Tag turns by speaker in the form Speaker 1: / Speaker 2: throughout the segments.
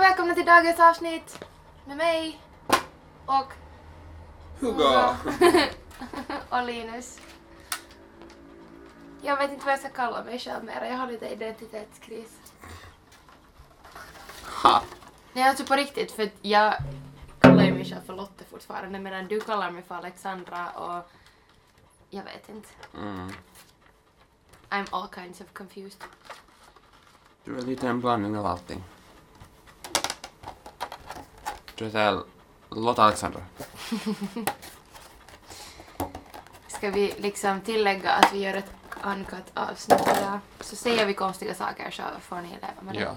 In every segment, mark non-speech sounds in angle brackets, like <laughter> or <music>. Speaker 1: välkomna till dagens avsnitt med mig och
Speaker 2: Hugga!
Speaker 1: <laughs> och Linus. Jag vet inte vad jag ska kalla mig själv mer, jag har lite identitetskris.
Speaker 2: Ha!
Speaker 1: Nej alltså på riktigt, för att jag kallar ju mig själv för Lotte fortfarande medan du kallar mig för Alexandra och jag vet inte.
Speaker 2: Mm.
Speaker 1: I'm all kinds of confused.
Speaker 2: Du är lite en blandning av allting. Du heter Lotta Alexandra.
Speaker 1: Ska vi liksom tillägga att vi gör ett uncut avsnitt idag? Så säger vi konstiga saker så får ni leva med det.
Speaker 2: Ja.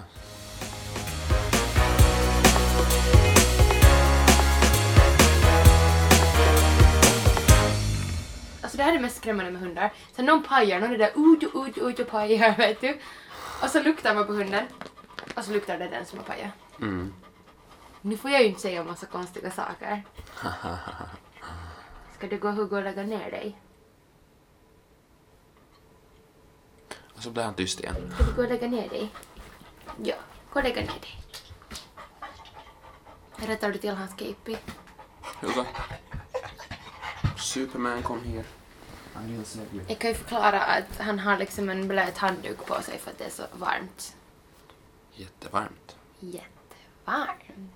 Speaker 1: Alltså det här är det mest skrämmande med hundar. Sen någon pajar, någon är där ut, ut, ut och pajar <laughs> vet du. Och så luktar man på hunden. Och så luktar det den som har pajat.
Speaker 2: Mm.
Speaker 1: Nu får jag ju inte säga massa konstiga saker. Ska du gå och hugga och lägga ner dig?
Speaker 2: Och så blir han tyst igen.
Speaker 1: Ska du gå och lägga ner dig? Ja, gå och lägga ner dig. Rättar du till hans kepi?
Speaker 2: Hugga. Superman kom här. Han vill se dig.
Speaker 1: Jag kan ju förklara att han har liksom en blöt handduk på sig för att det är så varmt.
Speaker 2: Jättevarmt.
Speaker 1: jättevarm.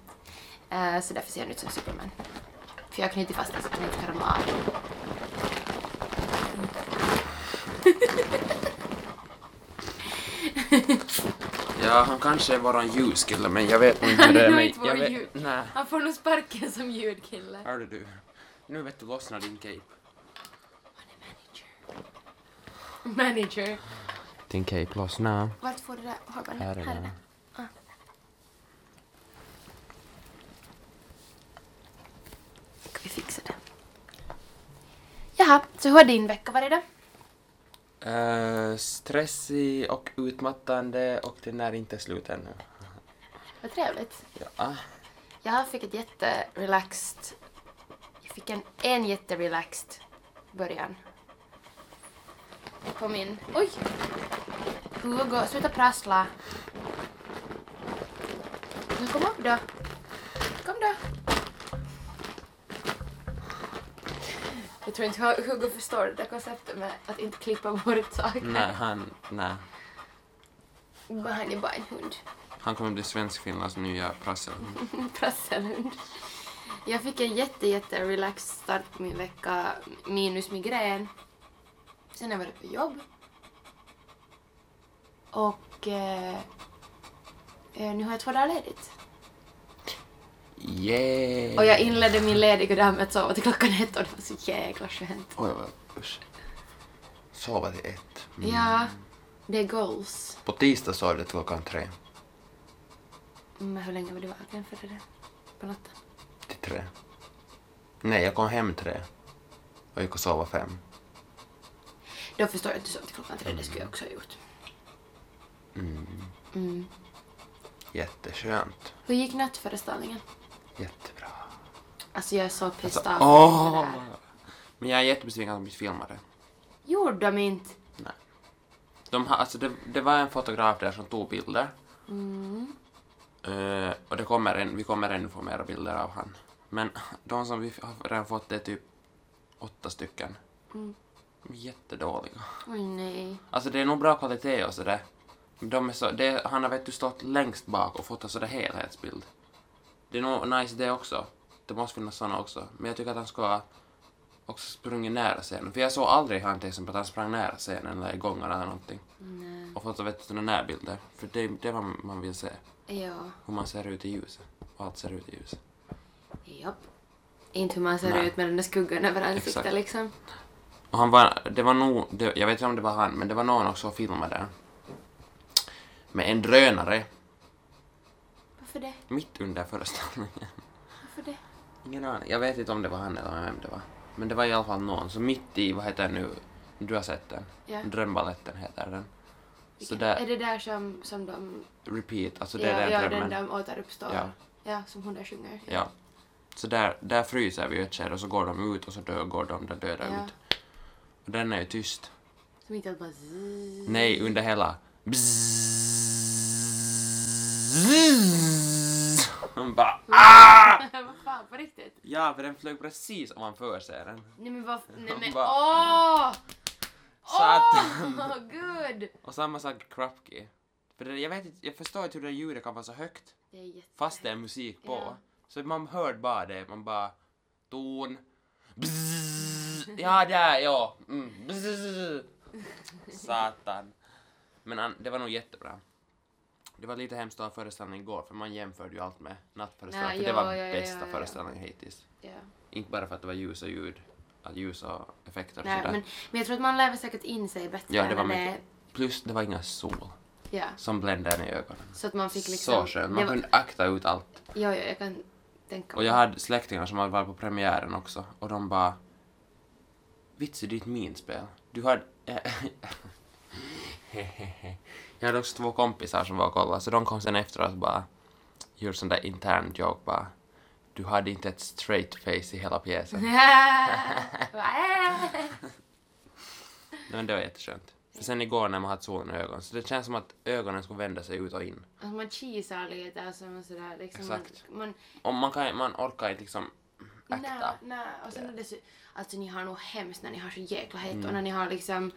Speaker 1: Eh, så därför ser han ut som Superman. För jag knyter fast den så att den inte kan ramla av.
Speaker 2: Ja, han kanske är våran ljuskille, men jag vet nog inte
Speaker 1: Han
Speaker 2: hur
Speaker 1: är
Speaker 2: det är.
Speaker 1: nog
Speaker 2: men
Speaker 1: inte vår
Speaker 2: jag vet-
Speaker 1: ljus.
Speaker 2: Nej.
Speaker 1: Han får nog sparken som ljudkille.
Speaker 2: Hörde du? Nu vet du, lossna din cape.
Speaker 1: Han är manager. Manager.
Speaker 2: Din cape lossna.
Speaker 1: Vart får du det där hårbandet?
Speaker 2: Här är
Speaker 1: Här är
Speaker 2: den.
Speaker 1: det. Ah. Ska vi fixa det? Jaha, så hur har din vecka varit då?
Speaker 2: Eh, stressig och utmattande och den är inte slut ännu.
Speaker 1: Vad trevligt.
Speaker 2: Ja.
Speaker 1: Jag fick ett jätterelaxed... Jag fick en, en jätterelaxed början. På min... Oj! Hugo, sluta prassla. Men kom upp då. Kom då. Jag tror inte Hu- Hugo förstår det där konceptet med att inte klippa bort saker.
Speaker 2: Nej, han, nej.
Speaker 1: Men Han är bara en hund.
Speaker 2: han kommer bli svensk-finlands nya prasselhund.
Speaker 1: Prasselhund. Jag fick en jätte, jätte relaxed start på min vecka, minus migrän. Sen har jag varit på jobb. Och eh, eh, nu har jag två dagar ledigt.
Speaker 2: Yeah!
Speaker 1: Och jag inledde min lediga dag med att sova till klockan ett och det var så jäkla skönt.
Speaker 2: Oj, vad- usch. Sova till ett. Mm.
Speaker 1: Ja, det är goals.
Speaker 2: På tisdag sov jag till klockan tre.
Speaker 1: Men hur länge var du vaken för det där? På natten?
Speaker 2: Till tre. Nej, jag kom hem tre. Och gick och sova fem.
Speaker 1: Då förstår jag att du sov till klockan tre, det skulle jag också ha gjort. Mm.
Speaker 2: Jätteskönt.
Speaker 1: Hur gick nattföreställningen?
Speaker 2: Jättebra.
Speaker 1: Alltså jag är så pissed off.
Speaker 2: Åh!
Speaker 1: efter det här.
Speaker 2: Men jag är jättebesviken att de inte filmade.
Speaker 1: Gjorde de inte?
Speaker 2: Nej. De har, alltså det, det var en fotograf där som tog bilder. Eh, och det kommer en, vi kommer ännu få mera bilder av han. Men <laughs> de som vi f- har redan fått är typ åtta stycken.
Speaker 1: Mm.
Speaker 2: De är Jättedåliga.
Speaker 1: Oj nej.
Speaker 2: Alltså det är nog bra kvalitet och sådär. Men De är så, det, han har vet du stått längst bak och fått en sådär helhetsbild. Det är nog nice det också. Det måste finnas såna också. Men jag tycker att han ska ha också sprungit nära scenen. För jag såg aldrig han till exempel att han sprang nära scenen eller i gångarna eller någonting.
Speaker 1: Nej.
Speaker 2: Och fått vet du, såna närbilder. För det, det är vad man vill se.
Speaker 1: Ja.
Speaker 2: Hur man ser ut i ljuset. Och allt ser ut i ljuset.
Speaker 1: Japp. Inte hur man ser
Speaker 2: Nej.
Speaker 1: ut med den där skuggan över ansiktet
Speaker 2: Exakt.
Speaker 1: liksom.
Speaker 2: Och han var, det var nog, det, jag vet inte om det var han, men det var någon också som filmade där. Med en drönare
Speaker 1: Varför det?
Speaker 2: mitt under föreställningen. <laughs>
Speaker 1: Varför det?
Speaker 2: Ingen aning. Jag vet inte om det var han eller vem det var. Men det var i alla fall någon. Så mitt i, vad heter den nu? Du har sett den.
Speaker 1: Ja.
Speaker 2: Drömbaletten heter den. Så
Speaker 1: Vilken- Är
Speaker 2: där,
Speaker 1: det där som, som de...
Speaker 2: repeat, alltså det
Speaker 1: ja,
Speaker 2: är den
Speaker 1: ja, den
Speaker 2: drömmen.
Speaker 1: där de återuppstår.
Speaker 2: Ja.
Speaker 1: ja, som hon där sjunger.
Speaker 2: Ja. Så där, där fryser vi ju ett skede och så går de ut och så dör, går de där döda
Speaker 1: Ja.
Speaker 2: ut. Och den är ju tyst.
Speaker 1: Som inte alls bara... zzz.
Speaker 2: Nej, under hela... Bzzz. Man bara ah!
Speaker 1: <laughs> Vad fan, på riktigt?
Speaker 2: Ja, för den flög precis ovanför seren.
Speaker 1: Nej men vad... Nej men
Speaker 2: Bara-
Speaker 1: åh!
Speaker 2: Satan.
Speaker 1: Åh, gud!
Speaker 2: Och samma sak Krupke. För det, jag vet inte, jag förstår inte hur det ljudet kan vara så högt
Speaker 1: Det är jätte...
Speaker 2: fast det är musik på.
Speaker 1: Ja.
Speaker 2: Så man hörde bara det, man bara ton,
Speaker 1: <laughs>
Speaker 2: bzzz, ja där ja, mm, bzzz. Satan. Men han, det var nog jättebra. Det var lite hemskt att ha en föreställning igår för man jämförde ju allt med nattföreställningen
Speaker 1: Ja,
Speaker 2: för det
Speaker 1: ja,
Speaker 2: var
Speaker 1: ja, ja,
Speaker 2: bästa
Speaker 1: ja, ja.
Speaker 2: föreställningen hittills.
Speaker 1: Ja.
Speaker 2: Inte bara för att det var ljus och ljud, att ljus och effekter och
Speaker 1: Nej,
Speaker 2: sådär.
Speaker 1: men, men jag tror att man lär väl säkert in sig bättre.
Speaker 2: Ja, det var
Speaker 1: när
Speaker 2: mycket. Plus det var inga sol
Speaker 1: Ja,
Speaker 2: som bländade en i ögonen.
Speaker 1: så att man fick liksom...
Speaker 2: Så skönt,
Speaker 1: det
Speaker 2: man
Speaker 1: var,
Speaker 2: kunde akta ut allt.
Speaker 1: Ja, ja, jag kan tänka
Speaker 2: Och
Speaker 1: <laughs>
Speaker 2: jag hade släktingar som hade varit på premiären också och de bara Vitsi, det är ett minspel. Du har... <laughs> jag hade också två kompisar som var och kollade så de kom sen efteråt och bara gjorde sån där intern joke bara Du hade inte ett straight face i hela
Speaker 1: Mm-hmm.
Speaker 2: pjäsen.
Speaker 1: "Äh."
Speaker 2: Nej, Men det var jätteskönt. För sen igår när man hade solen i ögonen så det känns som att ögonen skulle vända sig ut och in.
Speaker 1: alltså man kisar lite, alltså man sådär liksom...
Speaker 2: Exakt.
Speaker 1: Man, man,
Speaker 2: Och man, kan, man orkar inte liksom akta.
Speaker 1: Nej, nej. Och sen är det så, alltså ni har nog hemskt när ni har så jäkla hett
Speaker 2: Mm.
Speaker 1: och när ni har liksom,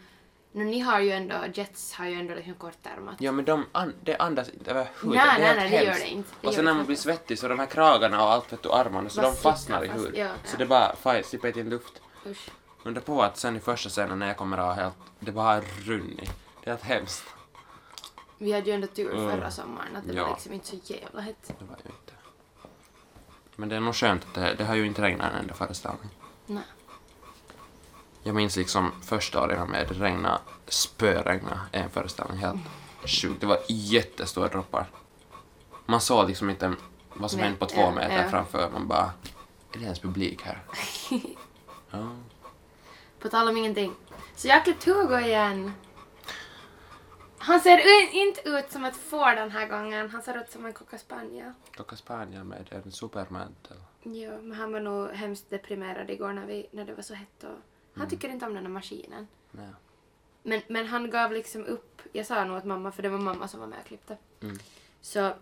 Speaker 1: nu, ni har ju ändå, Jets har ju ändå liksom kortärmat.
Speaker 2: Ja men de an- det andas inte överhuvudtaget.
Speaker 1: Nej,
Speaker 2: är
Speaker 1: nej,
Speaker 2: helt
Speaker 1: nej, det gör
Speaker 2: hemskt.
Speaker 1: det inte. Det
Speaker 2: och
Speaker 1: gör
Speaker 2: sen när
Speaker 1: det
Speaker 2: man blir svettig så de här kragarna och allt vet du, armarna så
Speaker 1: Bara
Speaker 2: de fastnar i
Speaker 1: sitter fast,
Speaker 2: huden.
Speaker 1: ja,
Speaker 2: så
Speaker 1: ja.
Speaker 2: det bara faj- sipprar inte in luft.
Speaker 1: Usch.
Speaker 2: Undra på att sen i första scenen när jag kommer att ha helt, det bara har runnit. Det är helt hemskt.
Speaker 1: Vi hade ju ändå tur
Speaker 2: Mm.
Speaker 1: förra sommaren att det
Speaker 2: Ja.
Speaker 1: var liksom inte så jävla hett.
Speaker 2: Det var ju inte. Men det är nog skönt att det, det har ju inte regnat en enda föreställning.
Speaker 1: Nej.
Speaker 2: Jag minns liksom första året jag var med, det regnade, spöregnade en föreställning helt sjukt. Det var jättestora droppar. Man såg liksom inte vad som
Speaker 1: Nej,
Speaker 2: hände på två
Speaker 1: ja,
Speaker 2: meter
Speaker 1: ja.
Speaker 2: framför. Man bara, är det ens publik här?
Speaker 1: <laughs>
Speaker 2: ja.
Speaker 1: På tal om ingenting. Så jag har klippt Hugo igen. Han ser u- inte ut som ett får den här gången, han ser ut som en cocker spaniel.
Speaker 2: Klockan Spanien med en supermantel.
Speaker 1: Ja, men han var nog hemskt deprimerad igår när, vi, när det var så hett och han tycker inte om den här maskinen.
Speaker 2: Nej.
Speaker 1: Men, men han gav liksom upp. Jag sa nog att mamma, för det var mamma som var med och klippte.
Speaker 2: Mm.
Speaker 1: Så,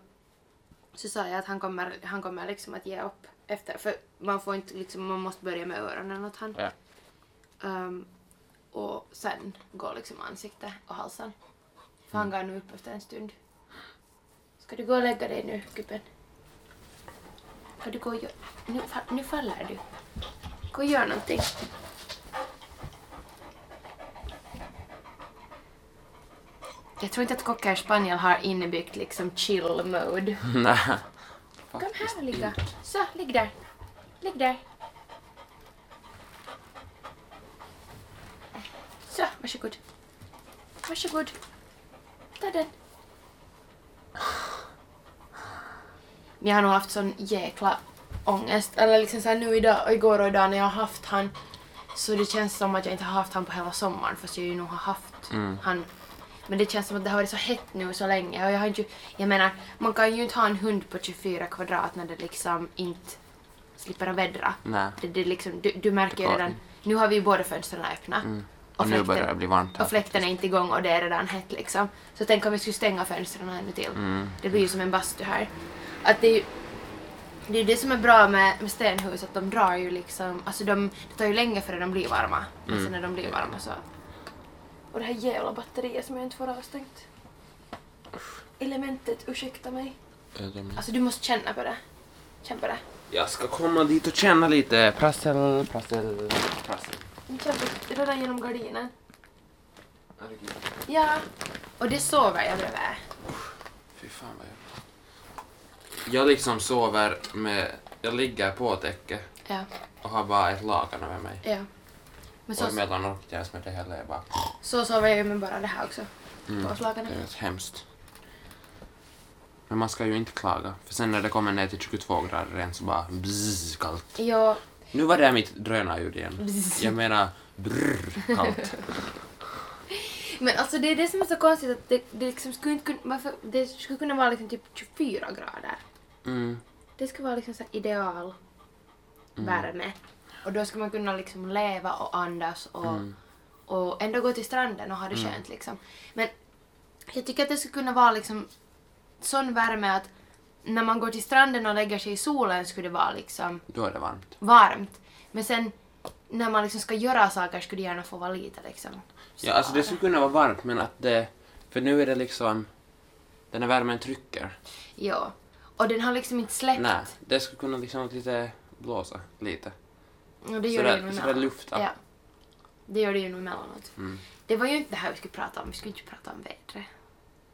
Speaker 1: så sa jag att han kommer, han kommer liksom att ge upp efter. För man får inte liksom, man måste börja med öronen åt han.
Speaker 2: Ja.
Speaker 1: Ehm, och sen går liksom ansikte och halsen. För han gav nu upp efter en stund. Ska du gå och lägga dig nu, gubben? Ska du gå och göra... Nu, fa- nu faller du. Gå och gör någonting. Jag tror inte att cocker spaniel har inbyggt liksom chill mode.
Speaker 2: Nej.
Speaker 1: Kom här och ligga. Så, ligg där. Ligg där. Så, varsågod. Varsågod. Ta den. Men jag har nog haft sån jäkla ångest. Eller liksom såhär nu idag och igår och idag när jag har haft han. Så det känns som att jag inte har haft han på hela sommaren fast jag ju nog har haft han. Men det känns som att det har varit så hett nu så länge och jag har inte, jag menar man kan ju inte ha en hund på 24 kvadrat när det liksom inte slipper att vädra.
Speaker 2: Nej.
Speaker 1: Det, det liksom, du, du märker ju
Speaker 2: går
Speaker 1: redan,
Speaker 2: inte.
Speaker 1: nu har vi ju båda fönstren öppna.
Speaker 2: Och nu
Speaker 1: fläkten-
Speaker 2: börjar det bli varmt här.
Speaker 1: och fläkten är inte igång och det är redan hett liksom. Så tänk om vi skulle stänga fönstren ännu till.
Speaker 2: Mm.
Speaker 1: Det blir ju som en bastu här. Att det är ju det, är det som är bra med, med stenhus, att de drar ju liksom, alltså de, det tar ju länge före de blir varma.
Speaker 2: Mm.
Speaker 1: Men sen när de blir varma så... Och det här jävla batteriet som jag inte får avstängt. Elementet, ursäkta mig. Alltså du måste känna på det. Känn på det.
Speaker 2: Jag ska komma dit och känna lite. Prassel, prassel, prassel.
Speaker 1: Nu känner jag redan genom gardinen. Ja. Och det sover jag bredvid.
Speaker 2: Fy fan vad jag... Jag liksom sover med... Jag ligger på täcket
Speaker 1: Ja.
Speaker 2: och har bara ett lakan över mig.
Speaker 1: Ja. Men så,
Speaker 2: Och emellan orkar jag smälta hela jag bara...
Speaker 1: så sover jag ju med bara det här också.
Speaker 2: Mm.
Speaker 1: På
Speaker 2: Det är
Speaker 1: slaganen.
Speaker 2: rätt hemskt. Men man ska ju inte klaga. För sen när det kommer ner till 22 grader igen så bara bzzz kallt.
Speaker 1: Ja.
Speaker 2: Nu var det mitt drönarljud igen.
Speaker 1: Bzzz.
Speaker 2: Jag menar brrr kallt.
Speaker 1: Men alltså det är det som är så konstigt att det, det liksom skulle inte kunna, varför, det skulle kunna vara liksom typ 24 grader.
Speaker 2: Mm.
Speaker 1: Det skulle vara liksom så här ideal värme. Och då ska man kunna liksom leva och andas och, och ändå gå till stranden och ha det skönt liksom. Men jag tycker att det skulle kunna vara liksom sån värme att när man går till stranden och lägger sig i solen skulle det vara liksom
Speaker 2: Då är det varmt.
Speaker 1: varmt. Men sen när man liksom ska göra saker skulle det gärna få vara lite liksom.
Speaker 2: Ja, alltså det skulle kunna vara varmt men att det... För nu är det liksom... Den här värmen trycker.
Speaker 1: Ja. Och den har liksom inte släppt.
Speaker 2: Nej, det skulle kunna liksom lite blåsa lite.
Speaker 1: Och det
Speaker 2: Så
Speaker 1: gör
Speaker 2: där-
Speaker 1: det ju nu
Speaker 2: så där
Speaker 1: emellanåt.
Speaker 2: luftar.
Speaker 1: Ja. Det gör det ju nu emellanåt.
Speaker 2: Mm.
Speaker 1: Det var ju inte det här vi skulle prata om, vi skulle inte prata om vädret.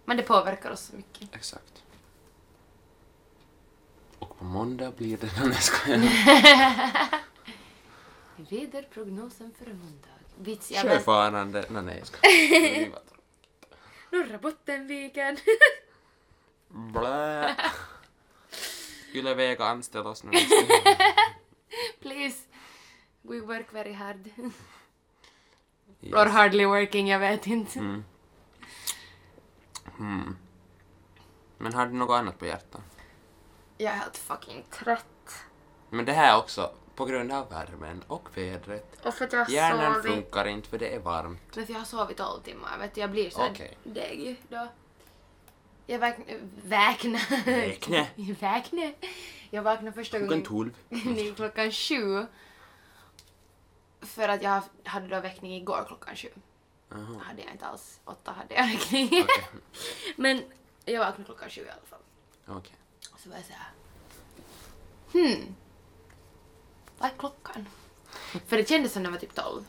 Speaker 1: Men det påverkar oss så mycket.
Speaker 2: Exakt. Och på måndag blir det... <laughs> Nej, jag skojar.
Speaker 1: Väderprognosen för måndag. Vits, jag vet.
Speaker 2: Sjöfarande. Nej, nej, jag skojar.
Speaker 1: Norra Bottenviken. <laughs>
Speaker 2: Blä. Yle Vega anställ oss nu.
Speaker 1: Please. We work very hard. Or
Speaker 2: Yes.
Speaker 1: hardly working, jag vet inte.
Speaker 2: Mm. Mm. Men har du något annat på hjärtat?
Speaker 1: Jag är helt fucking trött.
Speaker 2: Men det här också, på grund av värmen och vädret.
Speaker 1: Och för att jag har
Speaker 2: Hjärnan
Speaker 1: sovit...
Speaker 2: funkar inte för det är varmt.
Speaker 1: Men för jag har sovit 12 timmar, vet du, jag blir så här
Speaker 2: Okej.
Speaker 1: deg då. Jag vakn- vaknar...
Speaker 2: Väkne.
Speaker 1: <laughs> Vaknar. Jag vaknar första
Speaker 2: Klockan
Speaker 1: gången...
Speaker 2: tolv.
Speaker 1: <laughs> Nej, klockan sju. För att jag hade då väckning igår klockan sju.
Speaker 2: Jaha,
Speaker 1: hade jag inte alls. Åtta hade jag <laughs> väckning.
Speaker 2: okej.
Speaker 1: Men jag vaknade klockan sju i alla fall.
Speaker 2: Okej.
Speaker 1: Och så var jag så här... Hmm. Vad är klockan? För det kändes som när jag var typ tolv.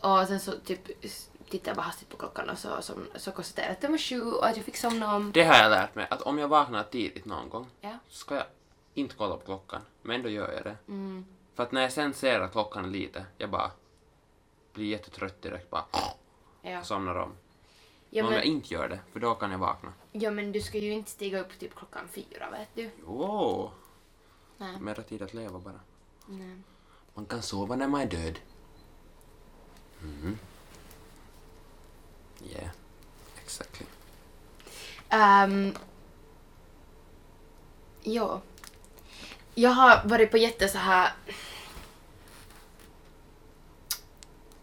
Speaker 1: Och sen så typ s- tittade jag bara hastigt på klockan och så, som, så konstaterade jag att det var sju och att jag fick somna om...
Speaker 2: Det har jag lärt mig, att om jag vaknar tidigt någon gång
Speaker 1: Ja.
Speaker 2: så ska jag inte kolla på klockan. Men ändå gör jag det.
Speaker 1: Mm.
Speaker 2: För att när jag sen ser att klockan är lite, jag bara blir jättetrött direkt bara
Speaker 1: Ja.
Speaker 2: och somnar om.
Speaker 1: Ja,
Speaker 2: men om jag
Speaker 1: men,
Speaker 2: inte gör det, för då kan jag vakna.
Speaker 1: ja men du ska ju inte stiga upp typ klockan fyra vet du.
Speaker 2: Wow!
Speaker 1: Nej.
Speaker 2: Mera tid att leva bara.
Speaker 1: Nej.
Speaker 2: Man kan sova när man är död. Mm. Yeah. Exactly.
Speaker 1: Um, ja. Jag har varit på jätte så här...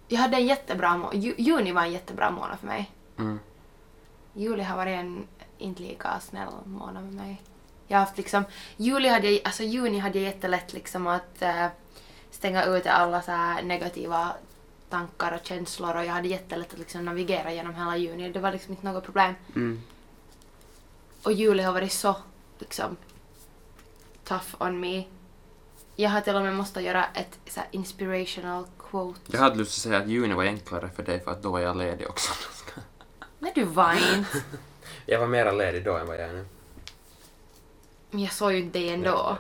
Speaker 1: Jag hade en jättebra månad. Juni var en jättebra månad för mig.
Speaker 2: Mm.
Speaker 1: Juli har varit en inte lika snäll månad med mig. Jag har haft liksom... Juli hade jag, alltså juni hade jag jättelätt liksom att eh, stänga ute alla så här negativa tankar och känslor och jag hade jättelätt att liksom navigera genom hela juni. Det var liksom inte något problem.
Speaker 2: Mm.
Speaker 1: Och juli har varit så liksom tough on me. Jag har till och med måste göra ett så här, inspirational quote.
Speaker 2: Jag hade lust att säga att juni var enklare för dig för att då var jag ledig också.
Speaker 1: Nej du var inte.
Speaker 2: <laughs> jag var mera ledig då än vad jag är nu.
Speaker 1: <laughs> Men jag såg ju inte dig ändå.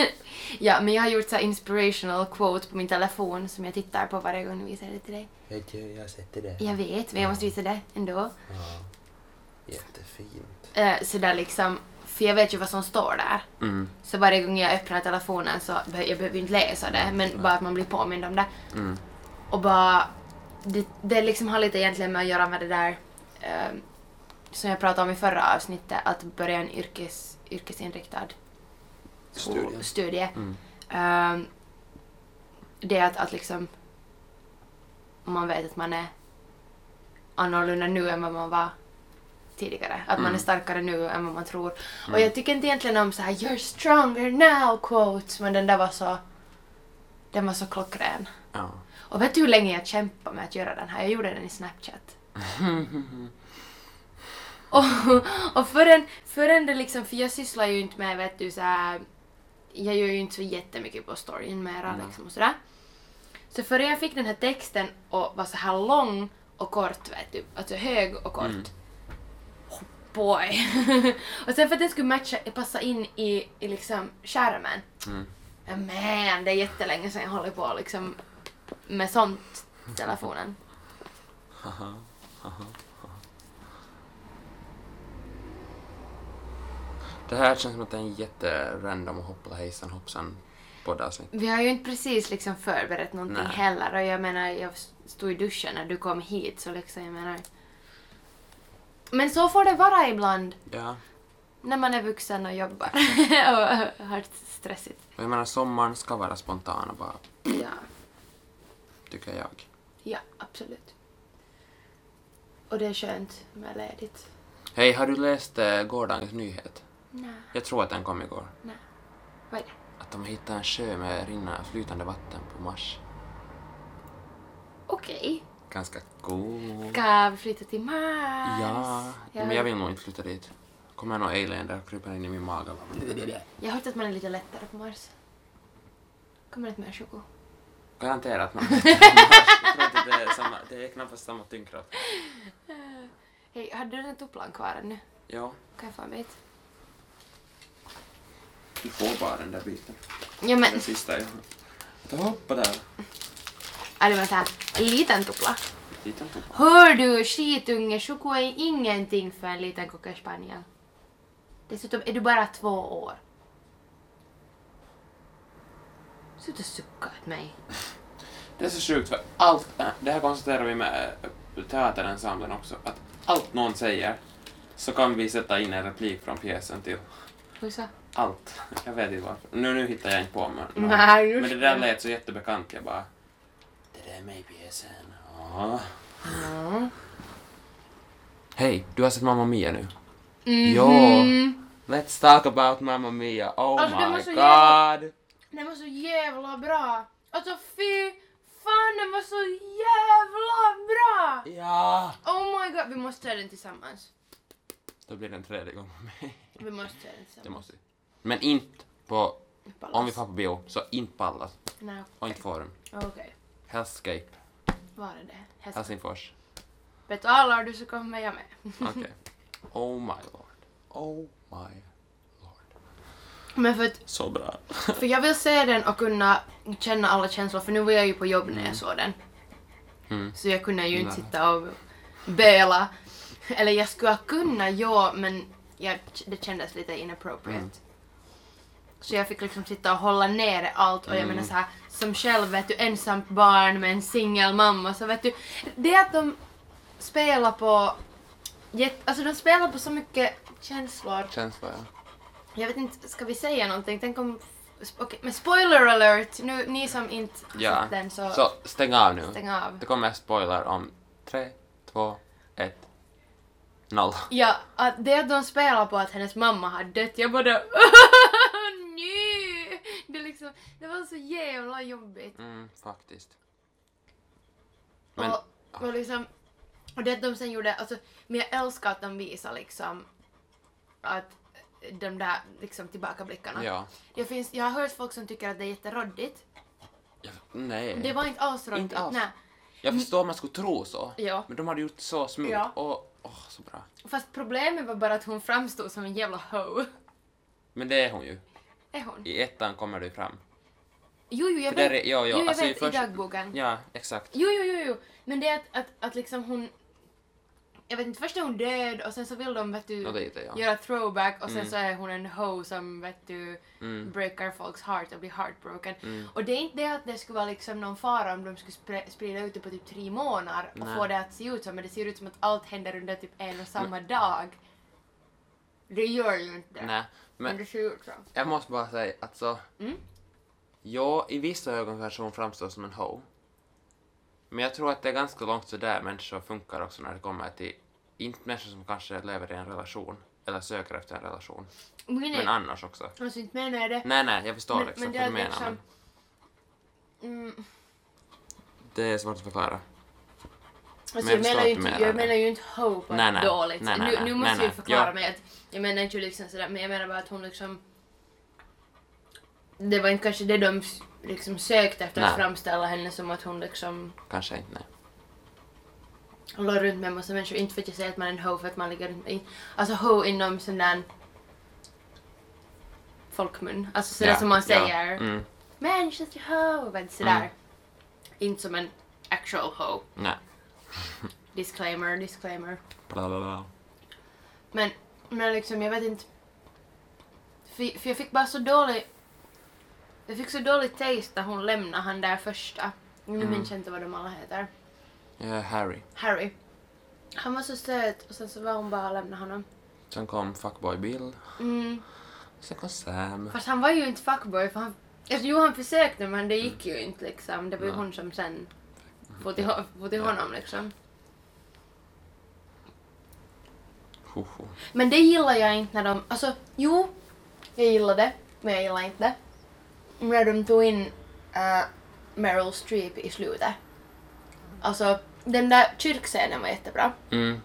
Speaker 1: <laughs> ja, men jag har gjort så här inspirational quote på min telefon som jag tittar på varje gång jag visar det till dig.
Speaker 2: Jag, jag, jag sätter det.
Speaker 1: Jag vet, men jag måste visa det ändå.
Speaker 2: Ja. Jättefint.
Speaker 1: Eh, så där liksom, för jag vet ju vad som står där.
Speaker 2: Mm.
Speaker 1: Så varje gång jag öppnar telefonen så be- jag behöver ju inte läsa det, men bara att man blir påmind om det.
Speaker 2: Mm.
Speaker 1: Och bara... Det, det liksom har lite egentligen med att göra med det där eh, som jag pratade om i förra avsnittet, att börja en yrkes, yrkesinriktad skol-
Speaker 2: Studie.
Speaker 1: studie.
Speaker 2: Mm.
Speaker 1: Ehm, det är att, att liksom man vet att man är annorlunda nu än vad man var tidigare. Att man är starkare nu än vad man tror.
Speaker 2: mm.
Speaker 1: Och jag tycker inte egentligen om så här “You're stronger now” quotes, men den där var så... Den var så klockren.
Speaker 2: Ja. <laughs>
Speaker 1: Och vet du hur länge jag kämpade med att göra den här? Jag gjorde den i Snapchat.
Speaker 2: Mm.
Speaker 1: och och förrän, förrän det liksom, för jag sysslar ju inte med vet du så här, jag gör ju inte så jättemycket på storyn mera
Speaker 2: Nej.
Speaker 1: liksom och sådär. Så förrän jag fick den här texten och var så här lång och kort vet du, alltså hög och kort.
Speaker 2: Mm.
Speaker 1: Oh boy! <laughs> och sen för att den skulle matcha, passa in i, i liksom skärmen.
Speaker 2: Mm.
Speaker 1: Men det är jättelänge sedan jag håller på liksom med sånt i telefonen.
Speaker 2: Haha. Det här känns som att det är en jätterandom och hoppla hejsan hoppsan poddavsnitt.
Speaker 1: Vi har ju inte precis liksom förberett någonting
Speaker 2: Nej.
Speaker 1: heller och jag menar jag stod i duschen när du kom hit så liksom jag menar. Men så får det vara ibland
Speaker 2: Ja.
Speaker 1: när man är vuxen och jobbar <laughs> och har stressigt.
Speaker 2: Och jag menar sommaren ska vara spontan och bara,
Speaker 1: Ja,
Speaker 2: tycker jag.
Speaker 1: ja absolut. Och det är skönt med ledigt.
Speaker 2: Hej, har du läst eh, gårdagens nyhet?
Speaker 1: Nej.
Speaker 2: Jag tror att den kom igår.
Speaker 1: Vad är det?
Speaker 2: Att de hittade en sjö med rinna, flytande vatten på Mars.
Speaker 1: Okej.
Speaker 2: Ganska cool.
Speaker 1: Ska vi flytta till Mars?
Speaker 2: Ja,
Speaker 1: Jag
Speaker 2: men jag
Speaker 1: har-
Speaker 2: vill nog inte flytta dit. Kommer någon alien där och kryper in i min mage. och bara-
Speaker 1: Jag har hört att man är lite lättare på Mars. Kommer inte människor gå? <laughs>
Speaker 2: Garanterat någon. Jag tror inte det är samma, det är knappast samma tyngdkraft.
Speaker 1: Hej, hade du den tupplan kvar ännu?
Speaker 2: Ja,
Speaker 1: Kan jag få en bit?
Speaker 2: du får bara den där biten.
Speaker 1: Ja men,
Speaker 2: Den sista jag har. Ta hoppa där.
Speaker 1: ja, det var såhär, en liten tuppla.
Speaker 2: Liten tobak.
Speaker 1: Hör du skitunge, Choco är ingenting för en liten cocker spaniel. Dessutom är du bara två år. Sluta sucka åt mig.
Speaker 2: Det är så sjukt för allt, äh, det här konstaterar vi med eh, teaterensemblen också, att allt någon säger så kan vi sätta in en replik från pjäsen till
Speaker 1: Hur så?
Speaker 2: allt. Jag vet inte varför. Nu, nu hittar jag inte på men...
Speaker 1: Nej, just
Speaker 2: men det där lät så jättebekant. Jag bara... Det där är mig i pjäsen. Ja.
Speaker 1: Mm.
Speaker 2: Hej, du har sett Mamma Mia nu?
Speaker 1: Mhm.
Speaker 2: Ja. Let's talk about Mamma Mia. Oh
Speaker 1: Alltså, den var
Speaker 2: my
Speaker 1: så jävla-
Speaker 2: god!
Speaker 1: Den var så jävla bra. Alltså fy fan den var så jävla bra!
Speaker 2: Ja!
Speaker 1: Oh my god, vi måste se den tillsammans.
Speaker 2: Då blir det en tredje gång med mig.
Speaker 1: Vi måste se den tillsammans.
Speaker 2: Det måste vi. Men inte på...
Speaker 1: Pallas.
Speaker 2: Om vi far på bio, så inte på Pallas.
Speaker 1: Nej,
Speaker 2: Och inte Forum.
Speaker 1: okej.
Speaker 2: Hellscape.
Speaker 1: Var är det? Häst.
Speaker 2: Helsingfors.
Speaker 1: Betalar du så kommer jag med.
Speaker 2: Okej. Oh my lord. Oh my lord.
Speaker 1: <laughs> Men för att
Speaker 2: Så bra.
Speaker 1: För jag vill se den och kunna känna alla känslor för nu var jag ju på jobb när jag såg den.
Speaker 2: Mm.
Speaker 1: Så jag kunde ju inte
Speaker 2: Nej.
Speaker 1: sitta och böla. Eller jag skulle ha kunnat, ja, men jag, det kändes lite inappropriate.
Speaker 2: Mm.
Speaker 1: Så jag fick liksom sitta och hålla nere allt och jag
Speaker 2: Mm.
Speaker 1: menar så här, som själv vet du, ensamt barn med en singelmamma så vet du, det att de spelar på, jätt- alltså de spelar på så mycket känslor
Speaker 2: Känsla, ja.
Speaker 1: jag vet inte, ska vi säga någonting? Tänk om... sp- Okej, men spoiler alert! Nu, ni som inte
Speaker 2: Ja.
Speaker 1: sett den så,
Speaker 2: Så stäng av nu.
Speaker 1: stäng av.
Speaker 2: Det kommer en spoiler om tre, två, ett, noll.
Speaker 1: Ja, att det att de spelar på att hennes mamma har dött, jag bara <laughs> nej! Det, är liksom, det var så jävla jobbigt.
Speaker 2: Mm, faktiskt. Men,
Speaker 1: Och, och liksom... Och det att de sen gjorde, alltså, men jag älskar att de visar liksom att de där liksom tillbakablickarna.
Speaker 2: ja.
Speaker 1: Det finns, jag har hört folk som tycker att det är jätteroddigt.
Speaker 2: Jag, nej.
Speaker 1: Det var inte alls roddigt.
Speaker 2: Mm. Inte alls.
Speaker 1: Nej.
Speaker 2: jag förstår om man skulle tro så.
Speaker 1: Ja.
Speaker 2: Men de hade gjort så smooth.
Speaker 1: Ja.
Speaker 2: Och, åh, så bra.
Speaker 1: Fast problemet var bara att hon framstod som en jävla ho.
Speaker 2: Men det är hon ju.
Speaker 1: Är hon?
Speaker 2: I ettan kommer det ju fram.
Speaker 1: Jo, jo, jag
Speaker 2: För där
Speaker 1: vet.
Speaker 2: är- ja, ja,
Speaker 1: jo, jag
Speaker 2: alltså,
Speaker 1: vet
Speaker 2: i först-
Speaker 1: i dagboken.
Speaker 2: Ja, exakt.
Speaker 1: Jo, jo, jo, jo. Men det är att, att, att liksom hon... Jag vet inte, först är hon död och sen så vill de, vet du,
Speaker 2: Nå, det är det, ja.
Speaker 1: göra throwback och sen
Speaker 2: Mm.
Speaker 1: så är hon en ho som, vet du,
Speaker 2: Mm.
Speaker 1: breakar folks heart och blir heartbroken.
Speaker 2: Mm.
Speaker 1: Och det är inte det att det skulle vara liksom någon fara om de skulle spre- sprida ut det på typ tre månader och
Speaker 2: Nej.
Speaker 1: få det att se ut så, men det ser ut som att allt händer under typ en och samma dag. Det gör ju inte det.
Speaker 2: Nej,
Speaker 1: Men
Speaker 2: men
Speaker 1: det ser ut så.
Speaker 2: jag måste bara säga att så...
Speaker 1: Mm.
Speaker 2: Ja, i vissa ögon kanske hon framstår som en ho. Men jag tror att det är ganska långt så där människor funkar också när det kommer till... Inte människor som kanske lever i en relation, eller söker efter en relation.
Speaker 1: Men,
Speaker 2: Men Mm. annars också.
Speaker 1: alltså inte menar jag det.
Speaker 2: Nej, nej, jag förstår
Speaker 1: Men-
Speaker 2: liksom
Speaker 1: men det
Speaker 2: vad du
Speaker 1: är
Speaker 2: menar.
Speaker 1: liksom-
Speaker 2: Men
Speaker 1: Mm.
Speaker 2: det är svårt att förklara.
Speaker 1: Alltså,
Speaker 2: Men jag
Speaker 1: jag,
Speaker 2: förstår
Speaker 1: menar
Speaker 2: att
Speaker 1: ju
Speaker 2: du
Speaker 1: inte,
Speaker 2: menar
Speaker 1: jag
Speaker 2: det.
Speaker 1: menar ju inte hope nej,
Speaker 2: Nej, nej.
Speaker 1: dåligt.
Speaker 2: Nej, nej,
Speaker 1: nu,
Speaker 2: nej.
Speaker 1: nu måste
Speaker 2: Nej,
Speaker 1: jag ju
Speaker 2: nej.
Speaker 1: förklara
Speaker 2: Ja.
Speaker 1: mig att jag menar inte liksom sådär men jag menar bara att hon liksom det var inte kanske det de s- liksom sökte efter att
Speaker 2: Nej.
Speaker 1: framställa henne som att hon liksom
Speaker 2: Kanske inte, nej.
Speaker 1: låg runt med en massa människor. Inte för att jag säger att man är en ho för att man ligger runt med alltså ho inom sån där folkmun. Alltså sådär
Speaker 2: Ja,
Speaker 1: som man
Speaker 2: ja,
Speaker 1: säger
Speaker 2: Mm,
Speaker 1: Men she's your hoe, men sådär.
Speaker 2: Mm.
Speaker 1: Inte som en actual hoe.
Speaker 2: nej.
Speaker 1: Disclaimer, disclaimer.
Speaker 2: Bla, bla, bla.
Speaker 1: Men, men liksom jag vet inte. För, för jag fick bara så dålig... Jag fick så dålig taste när hon lämnade han där första. Nu
Speaker 2: Mm.
Speaker 1: minns jag inte vad de alla heter.
Speaker 2: Ja, Eh, Harry.
Speaker 1: Harry. Han var så söt och sen så var hon bara och lämnade honom.
Speaker 2: Sen kom Fuckboy Bill.
Speaker 1: Mm.
Speaker 2: Sen kom Sam.
Speaker 1: Fast han var ju inte fuckboy för han... Alltså, jo han försökte men det gick ju inte liksom. Det var ju
Speaker 2: Nej. Mm.
Speaker 1: hon som sen liksom. får till, ho- for till
Speaker 2: Ja.
Speaker 1: honom liksom.
Speaker 2: Hoho.
Speaker 1: Men det gillar jag inte när de... Alltså, jo, jag gillar det, men jag gillar inte det. När de tog in eh, Meryl Streep i slutet. Alltså, den där kyrkscenen var jättebra.
Speaker 2: Mm.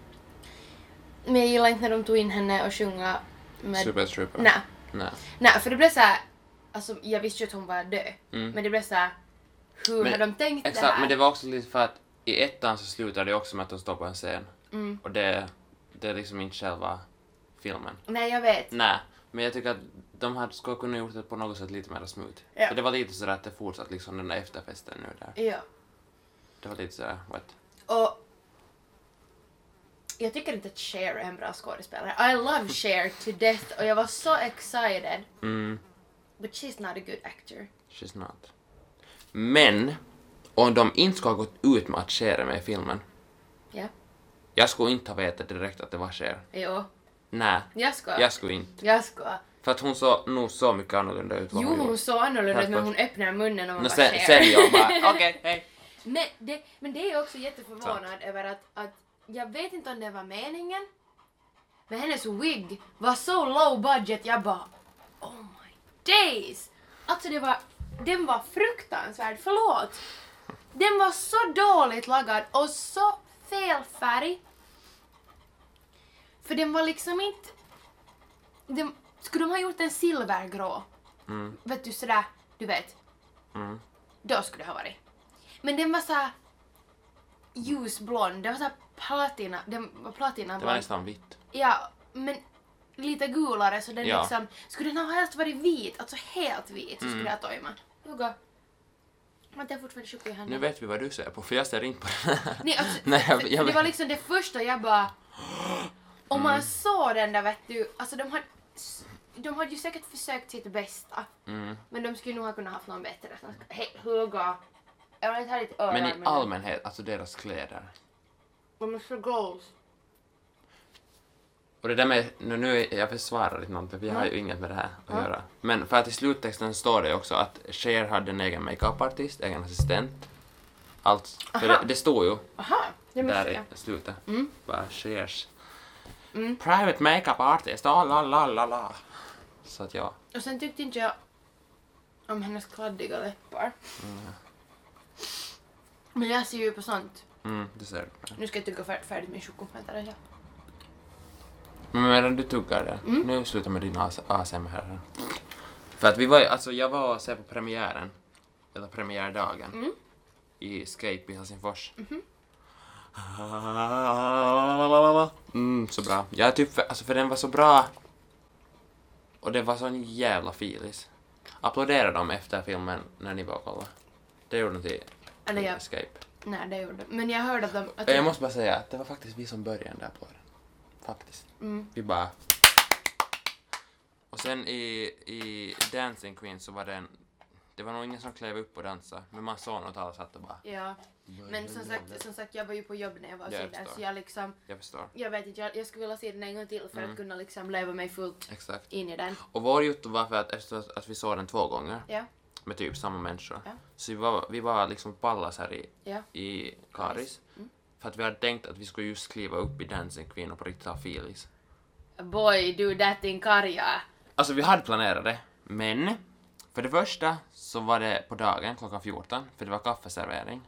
Speaker 1: Men jag gillar inte när de tog in henne och sjunga med...
Speaker 2: Superstripper.
Speaker 1: Nej.
Speaker 2: Nej.
Speaker 1: Nej, för det blev såhär... Alltså, jag visste ju att hon var död.
Speaker 2: Mm.
Speaker 1: Men det blev såhär... Hur
Speaker 2: Men-
Speaker 1: har de tänkt det
Speaker 2: Exakt,
Speaker 1: här?
Speaker 2: men det var också lite för att i ettan så slutade det också med att de står på en scen.
Speaker 1: Mm.
Speaker 2: Och det, det är liksom inte själva filmen.
Speaker 1: Nej, jag vet.
Speaker 2: Nej, men jag tycker att de hade skulle kunna gjort det på något sätt lite mer smooth.
Speaker 1: Ja.
Speaker 2: För det var lite sådär att det fortsatte liksom den där efterfesten nu där.
Speaker 1: Ja.
Speaker 2: Det var lite sådär, what?
Speaker 1: Och... Jag tycker inte att Cher är en bra skådespelare. I love Cher to death och jag var så excited.
Speaker 2: Mm,
Speaker 1: But she's not a good actor.
Speaker 2: she's not. Men, om de inte skulle ha gått ut med att Cher är med i filmen.
Speaker 1: Ja.
Speaker 2: Jag skulle inte ha vetat direkt att det var Cher.
Speaker 1: Jo.
Speaker 2: Nej,
Speaker 1: Jag ska.
Speaker 2: jag skulle inte.
Speaker 1: Jag ska.
Speaker 2: För att hon såg nog så mycket annorlunda ut vad
Speaker 1: Jo, hon
Speaker 2: gjorde.
Speaker 1: såg annorlunda ut
Speaker 2: Helt
Speaker 1: men hon öppnade munnen och man
Speaker 2: Nå,
Speaker 1: bara
Speaker 2: sen,
Speaker 1: Cher.
Speaker 2: sen
Speaker 1: <laughs>
Speaker 2: jag bara, okej, hej.
Speaker 1: men, det, men det är jag också jätteförvånad över att, att jag vet inte om det var meningen. Men hennes wig var så low budget jag bara oh my days. Alltså det var, den var fruktansvärd, förlåt. Den var så dåligt lagad och så fel färg. För den var liksom inte... Den, skulle de ha gjort en silvergrå?
Speaker 2: Mm.
Speaker 1: Vet du sådär, du vet.
Speaker 2: Mm.
Speaker 1: Då skulle det ha varit. Men den var såhär ljusblond, den var såhär platina, den var platinablond.
Speaker 2: Det var nästan vitt.
Speaker 1: Ja, men lite gulare så den
Speaker 2: Ja.
Speaker 1: liksom... Skulle den ha helst varit vit, alltså helt vit, så skulle
Speaker 2: Mm.
Speaker 1: jag ha tojmat. Hugo. Vänta, jag är fortfarande tjock i
Speaker 2: Nu
Speaker 1: handen.
Speaker 2: vet vi vad du ser på, för jag ser inte på den här.
Speaker 1: Nej, alltså,
Speaker 2: <laughs> Nej, jag-
Speaker 1: för-
Speaker 2: jag Mm.
Speaker 1: det var
Speaker 2: vet.
Speaker 1: liksom det första jag bara... Om man såg den där vet du, alltså de hade, s- de hade ju säkert försökt sitt bästa.
Speaker 2: Mm.
Speaker 1: Men de skulle nog ha kunnat haft någon bättre. Så de ska- Hej, Hugo. Jag vill inte ha ditt öra.
Speaker 2: Men i allmänhet, alltså deras kläder.
Speaker 1: De är så goals.
Speaker 2: Och det där med, nu, nu är- jag försvarar inte något, för vi har
Speaker 1: Mm.
Speaker 2: ju inget med det här att göra. Men för att i sluttexten står det också att Cher hade en egen makeupartist, egen assistent. Allt. För det,
Speaker 1: Aha.
Speaker 2: det står ju
Speaker 1: Aha, det
Speaker 2: där
Speaker 1: missade jag.
Speaker 2: i slutet.
Speaker 1: Mm.
Speaker 2: Bara Chers.
Speaker 1: Mm.
Speaker 2: Private makeup artist, ah, la la la la. Så att ja,
Speaker 1: Och sen tyckte inte jag om hennes kladdiga läppar. Men jag ser ju på sånt.
Speaker 2: mm, det ser du.
Speaker 1: Nu ska jag tugga fär- färdigt alltså. min choklad. Vänta, där är jag.
Speaker 2: Men medan du tuggar där, nu slutar med din AS- ASMR. här. För att vi var ju- alltså jag var och såg på premiären, eller premiärdagen, i Escape i Helsingfors. Mm, så bra. Jag är typ, för, alltså för den var så bra. Och det var sån jävla filis. Applåderade de efter filmen när ni var och kollade? Det gjorde de till
Speaker 1: Eller
Speaker 2: till
Speaker 1: jag-
Speaker 2: Escape.
Speaker 1: Nej, det gjorde Men jag hörde att de... Att
Speaker 2: Mm. Eh, Jag måste bara säga att det var faktiskt vi som började den där applåden. Faktiskt.
Speaker 1: Mm.
Speaker 2: Vi bara... Och sen i, i Dancing Queen så var den... Det var nog ingen som klev upp och dansade, men man såg något alla satt och bara...
Speaker 1: Ja.
Speaker 2: Mm,
Speaker 1: Men som sagt, som sagt, jag var ju på jobb när jag var och
Speaker 2: Jag
Speaker 1: såg den.
Speaker 2: förstår.
Speaker 1: Så jag liksom...
Speaker 2: Jag förstår.
Speaker 1: Jag vet inte, jag, jag skulle vilja se den en gång till för att
Speaker 2: Mm.
Speaker 1: kunna liksom leva mig fullt
Speaker 2: Exakt.
Speaker 1: in i den.
Speaker 2: Och vår jotto var för att efter att- att vi såg den två gånger
Speaker 1: Ja,
Speaker 2: med typ samma människor.
Speaker 1: Ja.
Speaker 2: Så vi var, vi var liksom på Pallas här i,
Speaker 1: ja. Mm.
Speaker 2: i Karis. För att vi hade tänkt att vi skulle just kliva upp i Dancing Queen och på riktigt ha filis.
Speaker 1: Boy, do that in Karja.
Speaker 2: Alltså vi hade planerat det, men för det första så var det på dagen klockan 14, för det var kaffeservering.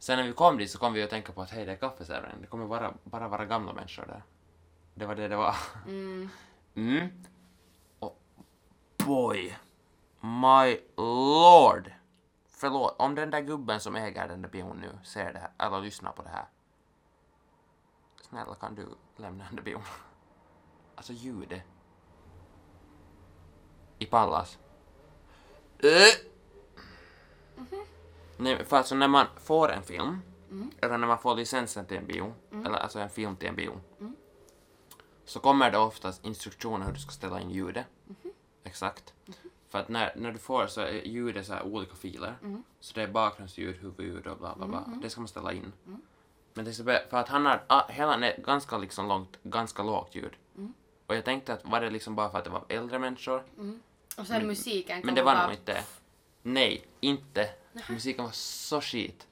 Speaker 2: Sen när vi kom dit så kom vi att tänka på att hej, det är kaffeservering, det kommer bara, bara vara gamla människor där. Det var det det var.
Speaker 1: Mm.
Speaker 2: Mm. Och boy, my lord! Förlåt, om den där gubben som äger den där bion nu ser det här, eller lyssnar på det här. Snälla kan du lämna den där bion? Alltså ljudet. I Pallas. Äh! Nej, för alltså när man får en film, eller när man får licensen till en bio, eller alltså en film till en bio, så kommer det oftast instruktioner hur du ska ställa in ljudet. Exakt. För att när, när du får så är ljudet så här olika filer. Så det är bakgrundsljud, huvudljud och bla bla bla. Det ska man ställa in. Men till exempel, för att han har ah, hela nät ganska liksom långt, ganska lågt ljud. Och jag tänkte att var det liksom bara för att det var äldre människor?
Speaker 1: Och sen musiken
Speaker 2: Mm. Men
Speaker 1: kommer
Speaker 2: det var
Speaker 1: bara-
Speaker 2: nog inte. Nej, inte. Musiken var så skit.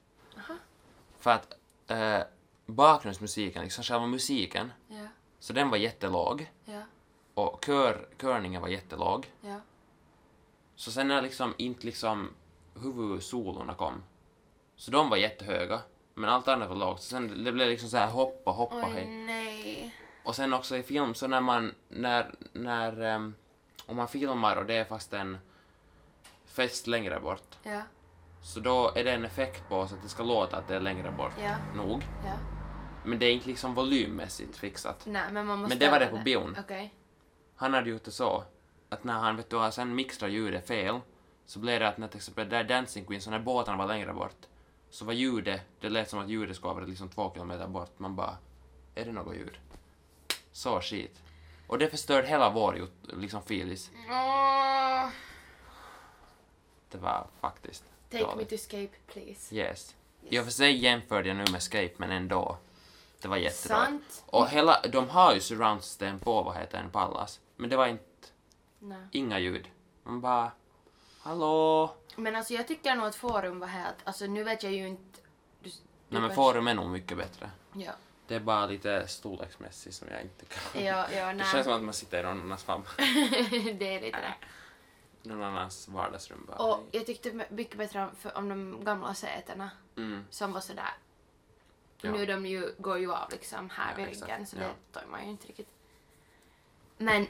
Speaker 2: För att eh, bakgrundsmusiken, liksom själva musiken,
Speaker 1: Ja.
Speaker 2: Så den var jättelåg
Speaker 1: Ja,
Speaker 2: och kör, körningen var jättelåg.
Speaker 1: ja.
Speaker 2: Så sen när liksom inte liksom huvudsolorna kom, så de var jättehöga. Men allt annat var lågt. Så sen det blev liksom så här hoppa, hoppa,
Speaker 1: Oj,
Speaker 2: hej.
Speaker 1: nej.
Speaker 2: Och sen också i film, så när man, när, när, ehm, om man filmar och det är fast en fest längre bort,
Speaker 1: Ja,
Speaker 2: så då är det en effekt på oss att det ska låta att det är längre bort.
Speaker 1: ja,
Speaker 2: Nog.
Speaker 1: ja.
Speaker 2: Men det är inte liksom volymmässigt fixat.
Speaker 1: Nej, men man måste...
Speaker 2: Men det var det
Speaker 1: göra
Speaker 2: på bion.
Speaker 1: Okej.
Speaker 2: Han hade gjort det så att när han vet du, har sen mixade ljudet fel så blev det att när till exempel där Dancing Queen, så när båtarna var längre bort så var ljudet, det lät som att ljudet skulle vara liksom två kilometer bort. Man bara, är det något ljud? Så skit. Och det förstörde hela vår ju- liksom filis.
Speaker 1: Åh,
Speaker 2: Det var faktiskt
Speaker 1: take me
Speaker 2: dåligt.
Speaker 1: to escape, please.
Speaker 2: Yes. I och för sig jämförde jag nu med Escape men ändå. Det var jättedåligt.
Speaker 1: Sant?
Speaker 2: Och hela, de har ju surroundsystem på, vad heter den, Pallas. Men det var inte,
Speaker 1: Nej.
Speaker 2: inga ljud. Man bara, hallå?
Speaker 1: Men alltså jag tycker nog att forum var helt... Alltså nu vet jag ju inte... Du, du
Speaker 2: Nej men
Speaker 1: kanske-
Speaker 2: forum är nog mycket bättre.
Speaker 1: Ja,
Speaker 2: Det är bara lite storleksmässigt som jag inte kan.
Speaker 1: ja, ja
Speaker 2: <laughs> Det känns
Speaker 1: nej.
Speaker 2: som att man sitter i någon annans famn.
Speaker 1: <laughs> det är lite det.
Speaker 2: <laughs> Någon annans vardagsrum bara.
Speaker 1: Och jag tyckte mycket bättre om, för, om de gamla sätena
Speaker 2: Mm.
Speaker 1: som var sådär.
Speaker 2: Ja.
Speaker 1: Nu de ju, går ju av liksom här
Speaker 2: Ja,
Speaker 1: vid
Speaker 2: exakt.
Speaker 1: ryggen så
Speaker 2: Ja.
Speaker 1: det tar man ju inte riktigt. Men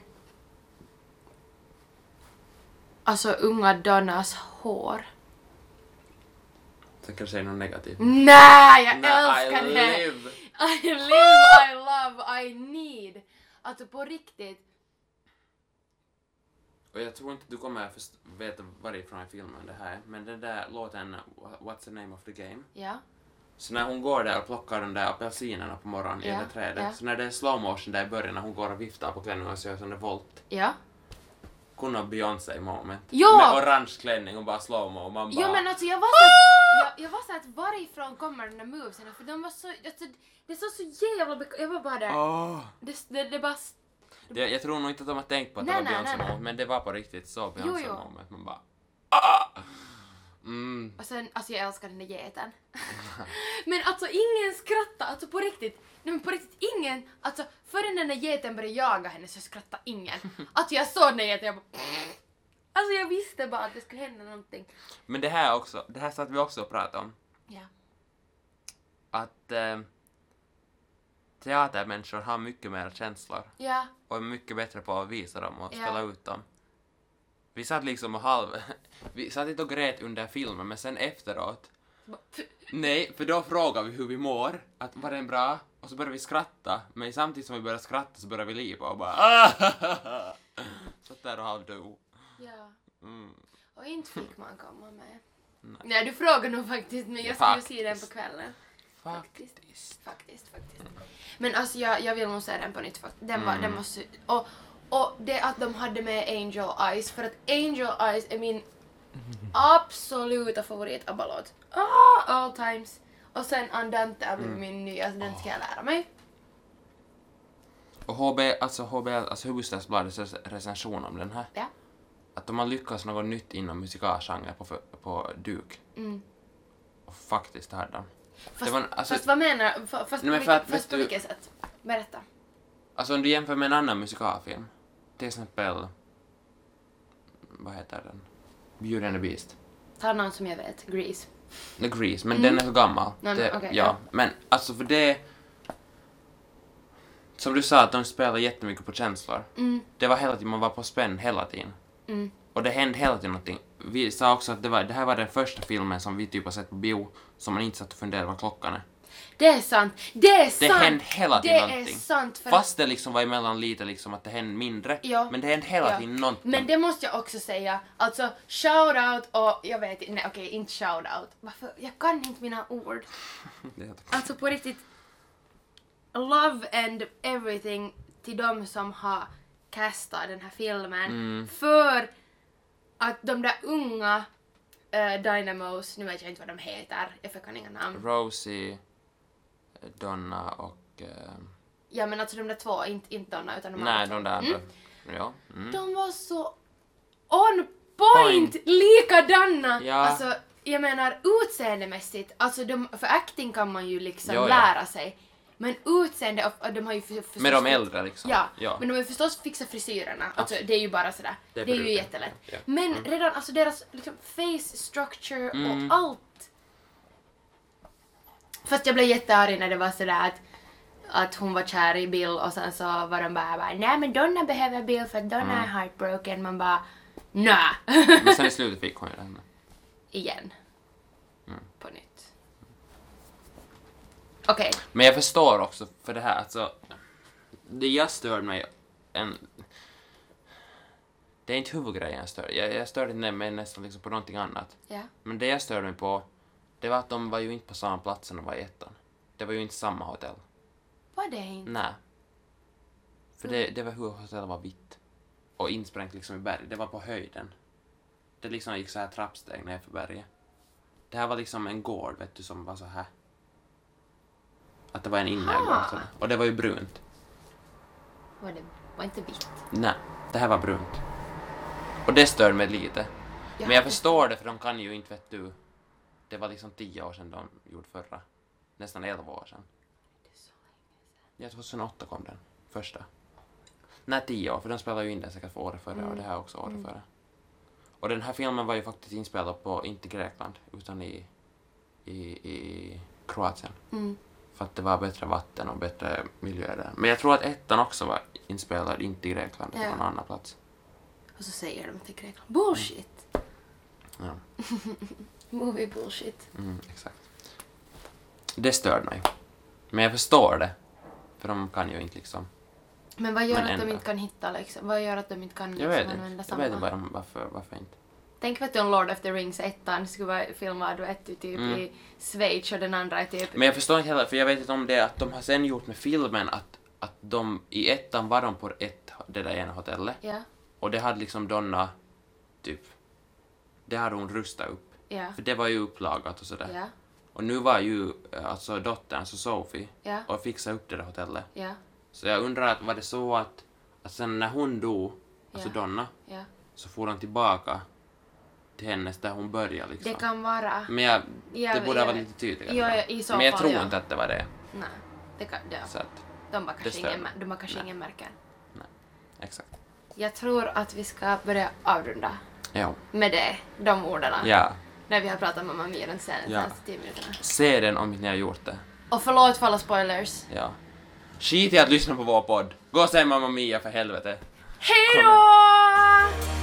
Speaker 1: alltså unga Donnas hår.
Speaker 2: Sen kanske det är något negativt.
Speaker 1: Nej, jag
Speaker 2: Nej,
Speaker 1: älskar
Speaker 2: I
Speaker 1: det!
Speaker 2: live.
Speaker 1: I live, I love, I need. Alltså på riktigt.
Speaker 2: Och jag tror inte du kommer först veta varifrån i filmen det här men den där låten What's the name of the game
Speaker 1: Ja,
Speaker 2: Så när hon går där och plockar de där apelsinerna på morgonen i
Speaker 1: Ja,
Speaker 2: det där trädet,
Speaker 1: ja.
Speaker 2: så när det är slow motion där i början när hon går och viftar på klänningen och så gör sån där volt,
Speaker 1: ja.
Speaker 2: hon har Beyoncé i moment.
Speaker 1: Ja!
Speaker 2: Med orange klänning och bara slow mo och man bara...
Speaker 1: Jo men alltså jag var så att, jag, jag var så att varifrån kommer de där movesen? För de var så, alltså, det såg så jävla bek- Jag var bara där.
Speaker 2: Åh!
Speaker 1: Det, det, det bara... s-
Speaker 2: Det, jag tror nog inte att de har tänkt på att det
Speaker 1: Nej,
Speaker 2: var
Speaker 1: nej,
Speaker 2: Beyoncé
Speaker 1: nej, nej.
Speaker 2: moment, men det var på riktigt så Beyoncé
Speaker 1: jo.
Speaker 2: moment. Man bara... Ah! Mm.
Speaker 1: Och sen, alltså jag älskar den där geten. <laughs> men alltså ingen skrattade, alltså på riktigt. Nej men på riktigt ingen, alltså förrän den där geten började jaga henne så skrattade ingen. Alltså jag såg den där geten jag bara... Alltså jag visste bara att det skulle hända någonting.
Speaker 2: Men det här också, det här satt vi också och pratade om.
Speaker 1: Ja.
Speaker 2: Att eh, teatermänniskor har mycket mer känslor.
Speaker 1: Ja.
Speaker 2: och är mycket bättre på att visa dem och
Speaker 1: Ja.
Speaker 2: spela ut dem. Vi satt liksom och halv... <laughs> Vi satt inte och grät under filmen, men sen efteråt...
Speaker 1: Bara, pff,
Speaker 2: Nej, för då frågade vi hur vi mår, att var den bra? Och så började vi skratta, men samtidigt som vi började skratta så började vi lipa och <laughs> bara Satt där och halvdog.
Speaker 1: Ja.
Speaker 2: Mm.
Speaker 1: Och inte fick man komma med.
Speaker 2: Nej.
Speaker 1: Nej, du frågar nog faktiskt men jag skulle ju se den på
Speaker 2: Faktiskt.
Speaker 1: kvällen.
Speaker 2: Faktiskt.
Speaker 1: Faktiskt, faktiskt. Men alltså jag, jag vill nog se den på nytt faktiskt. Den var,
Speaker 2: Mm.
Speaker 1: den måste, och, och det att de hade med Angel Eyes för att Angel Eyes är
Speaker 2: <laughs>
Speaker 1: min absoluta favorit ABBA-låt. Ah, all times. Och sen Andante har
Speaker 2: Mm.
Speaker 1: blivit min nya, så den ska
Speaker 2: Ah.
Speaker 1: jag lära mig.
Speaker 2: Och HB, alltså HB, alltså Hufvudstadsbladets rec- recension om den här,
Speaker 1: Ja.
Speaker 2: att de har lyckats något nytt inom musikalgenren på, f- på Duk.
Speaker 1: Mm.
Speaker 2: Och faktiskt hade de.
Speaker 1: Fast,
Speaker 2: var- alltså-
Speaker 1: fast vad menar fa- Fast,
Speaker 2: Nej, men
Speaker 1: på,
Speaker 2: för
Speaker 1: vilket,
Speaker 2: att, vet
Speaker 1: fast på
Speaker 2: du-
Speaker 1: vilket sätt? Berätta.
Speaker 2: Alltså om du jämför med en annan musikalfilm, till exempel... Vad heter den? Beauty and the Beast.
Speaker 1: Ta någon som jag vet, Grease.
Speaker 2: The Grease, men den är för gammal.
Speaker 1: Mm. Nej,
Speaker 2: det,
Speaker 1: men okej,
Speaker 2: ja.
Speaker 1: ja.
Speaker 2: Men alltså för det... Som du sa, att de spelar jättemycket på känslor.
Speaker 1: Mm,
Speaker 2: Det var hela tiden, man var på spänn hela tiden.
Speaker 1: mm.
Speaker 2: Och det hände hela tiden någonting. Vi sa också att det, var, det här var den första filmen som vi typ har sett på bio som man inte satt och funderade vad klockan är.
Speaker 1: Det är sant! Det är
Speaker 2: Det
Speaker 1: sant!
Speaker 2: hände hela
Speaker 1: det
Speaker 2: tiden
Speaker 1: är
Speaker 2: någonting.
Speaker 1: sant! För
Speaker 2: Fast det liksom var emellan lite liksom att det hände mindre.
Speaker 1: Ja.
Speaker 2: Men det hände hela
Speaker 1: Ja.
Speaker 2: tiden någonting.
Speaker 1: Men det måste jag också säga, alltså shout-out och jag vet inte, nej okej inte shout-out. Varför? Jag kan inte mina ord.
Speaker 2: Det är helt-
Speaker 1: Alltså på riktigt. Love and everything till de som har castat den här filmen.
Speaker 2: Mm.
Speaker 1: För att de där unga eh, Dynamos, nu vet jag inte vad de heter, jag kan inga namn.
Speaker 2: Rosie, eh, Donna och... Eh,
Speaker 1: Ja men alltså de där två, inte, inte Donna utan de andra
Speaker 2: nej, de där andra. Ja. Mm.
Speaker 1: De var så on point, likadana!
Speaker 2: Ja.
Speaker 1: Alltså, jag menar utseendemässigt, alltså de, för acting kan man ju liksom
Speaker 2: Jo, ja.
Speaker 1: lära sig. Men utseende, och, och de har ju för, förstås...
Speaker 2: Med de äldre liksom.
Speaker 1: Ja,
Speaker 2: ja.
Speaker 1: men de har ju förstås fixat frisyrerna. Alltså,
Speaker 2: Absolut.
Speaker 1: det är ju bara sådär.
Speaker 2: Det
Speaker 1: Det
Speaker 2: är
Speaker 1: är, ju
Speaker 2: peruker.
Speaker 1: jättelätt.
Speaker 2: Ja.
Speaker 1: Men redan alltså deras liksom, face structure
Speaker 2: Mm.
Speaker 1: och allt. Fast jag blev jättearg när det var sådär att, att hon var kär i Bill och sen så var de bara, bara nej men Donna behöver Bill för att Donna är heartbroken. Man bara, nä.
Speaker 2: Men sen i slutet fick hon ju den.
Speaker 1: Igen. På nytt. Okej.
Speaker 2: Men jag förstår också för det här, alltså. Det jag stör mig en... Det är inte huvudgrejen jag stör. Jag, jag störde nä- mig nästan liksom på någonting annat.
Speaker 1: Ja.
Speaker 2: Men det jag störde mig på, det var att de var ju inte på samma plats som de var i ettan. Det var ju inte samma hotell.
Speaker 1: Var det inte?
Speaker 2: Nej. För det, det var hur hotellet var vitt. Och insprängt liksom i berg. Det var på höjden. Det liksom gick så här trappsteg ner för berget. Det här var liksom en gård, vet du, som var så här. Att det var en innergård.
Speaker 1: Ah.
Speaker 2: sådär. Och det var ju brunt.
Speaker 1: Var det var inte vitt?
Speaker 2: Nej, det här var brunt. Och det stör mig lite. Men jag
Speaker 1: hade-
Speaker 2: förstår det, för de kan ju inte, vet du. Det var liksom tio år sedan de gjorde förra. Nästan elva år sedan. Ja, 2008 kom den. Första. Nej, 10 år, för den spelade ju in den säkert för året före och det här också året före. Och den här filmen var ju faktiskt inspelad på, inte Grekland, utan i, i, i Kroatien.
Speaker 1: Mm.
Speaker 2: För att det var bättre vatten och bättre miljö där. Men jag tror att ettan också var inspelad, inte i Grekland, utan
Speaker 1: Ja.
Speaker 2: på någon annan plats.
Speaker 1: Och så säger de till Grekland, bullshit!
Speaker 2: Ja,
Speaker 1: <laughs> Movie bullshit.
Speaker 2: mm, exakt. Det störde mig. Men jag förstår det. För de kan ju inte liksom...
Speaker 1: Men vad gör
Speaker 2: Men
Speaker 1: att de
Speaker 2: ändå.
Speaker 1: inte kan hitta liksom? Vad gör att de inte kan liksom,
Speaker 2: Jag vet
Speaker 1: använda
Speaker 2: inte. Jag
Speaker 1: samma?
Speaker 2: vet inte bara om- varför, varför inte.
Speaker 1: Tänk vet du om Lord of the Rings ettan skulle vara filmad och ett är typ
Speaker 2: Mm.
Speaker 1: i Schweiz och den andra är typ...
Speaker 2: Men jag förstår inte heller, för jag vet inte om det är att de har sen gjort med filmen att, att de i ettan var de på ett, det där ena hotellet
Speaker 1: Ja,
Speaker 2: och det hade liksom Donna, typ, det hade hon rustat upp.
Speaker 1: ja,
Speaker 2: För det var ju upplagat och sådär.
Speaker 1: ja,
Speaker 2: Och nu var ju eh, alltså dottern, så Sophie,
Speaker 1: ja,
Speaker 2: och fixade upp det där hotellet.
Speaker 1: ja,
Speaker 2: Så jag undrar, att, var det så att, att sen när hon dog, alltså
Speaker 1: Ja.
Speaker 2: Donna,
Speaker 1: ja.
Speaker 2: så for de tillbaka till hennes där hon började liksom.
Speaker 1: Det kan vara...
Speaker 2: Men jag,
Speaker 1: Jag-
Speaker 2: det borde
Speaker 1: jag
Speaker 2: ha varit
Speaker 1: vet.
Speaker 2: lite tydligare.
Speaker 1: Ja,
Speaker 2: ibland.
Speaker 1: ja, i så
Speaker 2: Men jag
Speaker 1: fall,
Speaker 2: tror
Speaker 1: ja.
Speaker 2: inte att det var det.
Speaker 1: Nej, det kan... Ja.
Speaker 2: Så att,
Speaker 1: De bara kanske,
Speaker 2: stämmer.
Speaker 1: ingen, mär- de bara kanske
Speaker 2: Nej.
Speaker 1: ingen märker.
Speaker 2: exakt.
Speaker 1: Jag tror att vi ska börja avrunda
Speaker 2: Ja.
Speaker 1: med det, de orden.
Speaker 2: Ja.
Speaker 1: När vi har pratat med Mamma Mia de senaste 10
Speaker 2: Ja.
Speaker 1: alltså, minuterna.
Speaker 2: Se den om ni har gjort det.
Speaker 1: Och förlåt för alla spoilers.
Speaker 2: Ja. Skit i att lyssna på vår podd. Gå och se Mamma Mia för helvete.
Speaker 1: Hej då!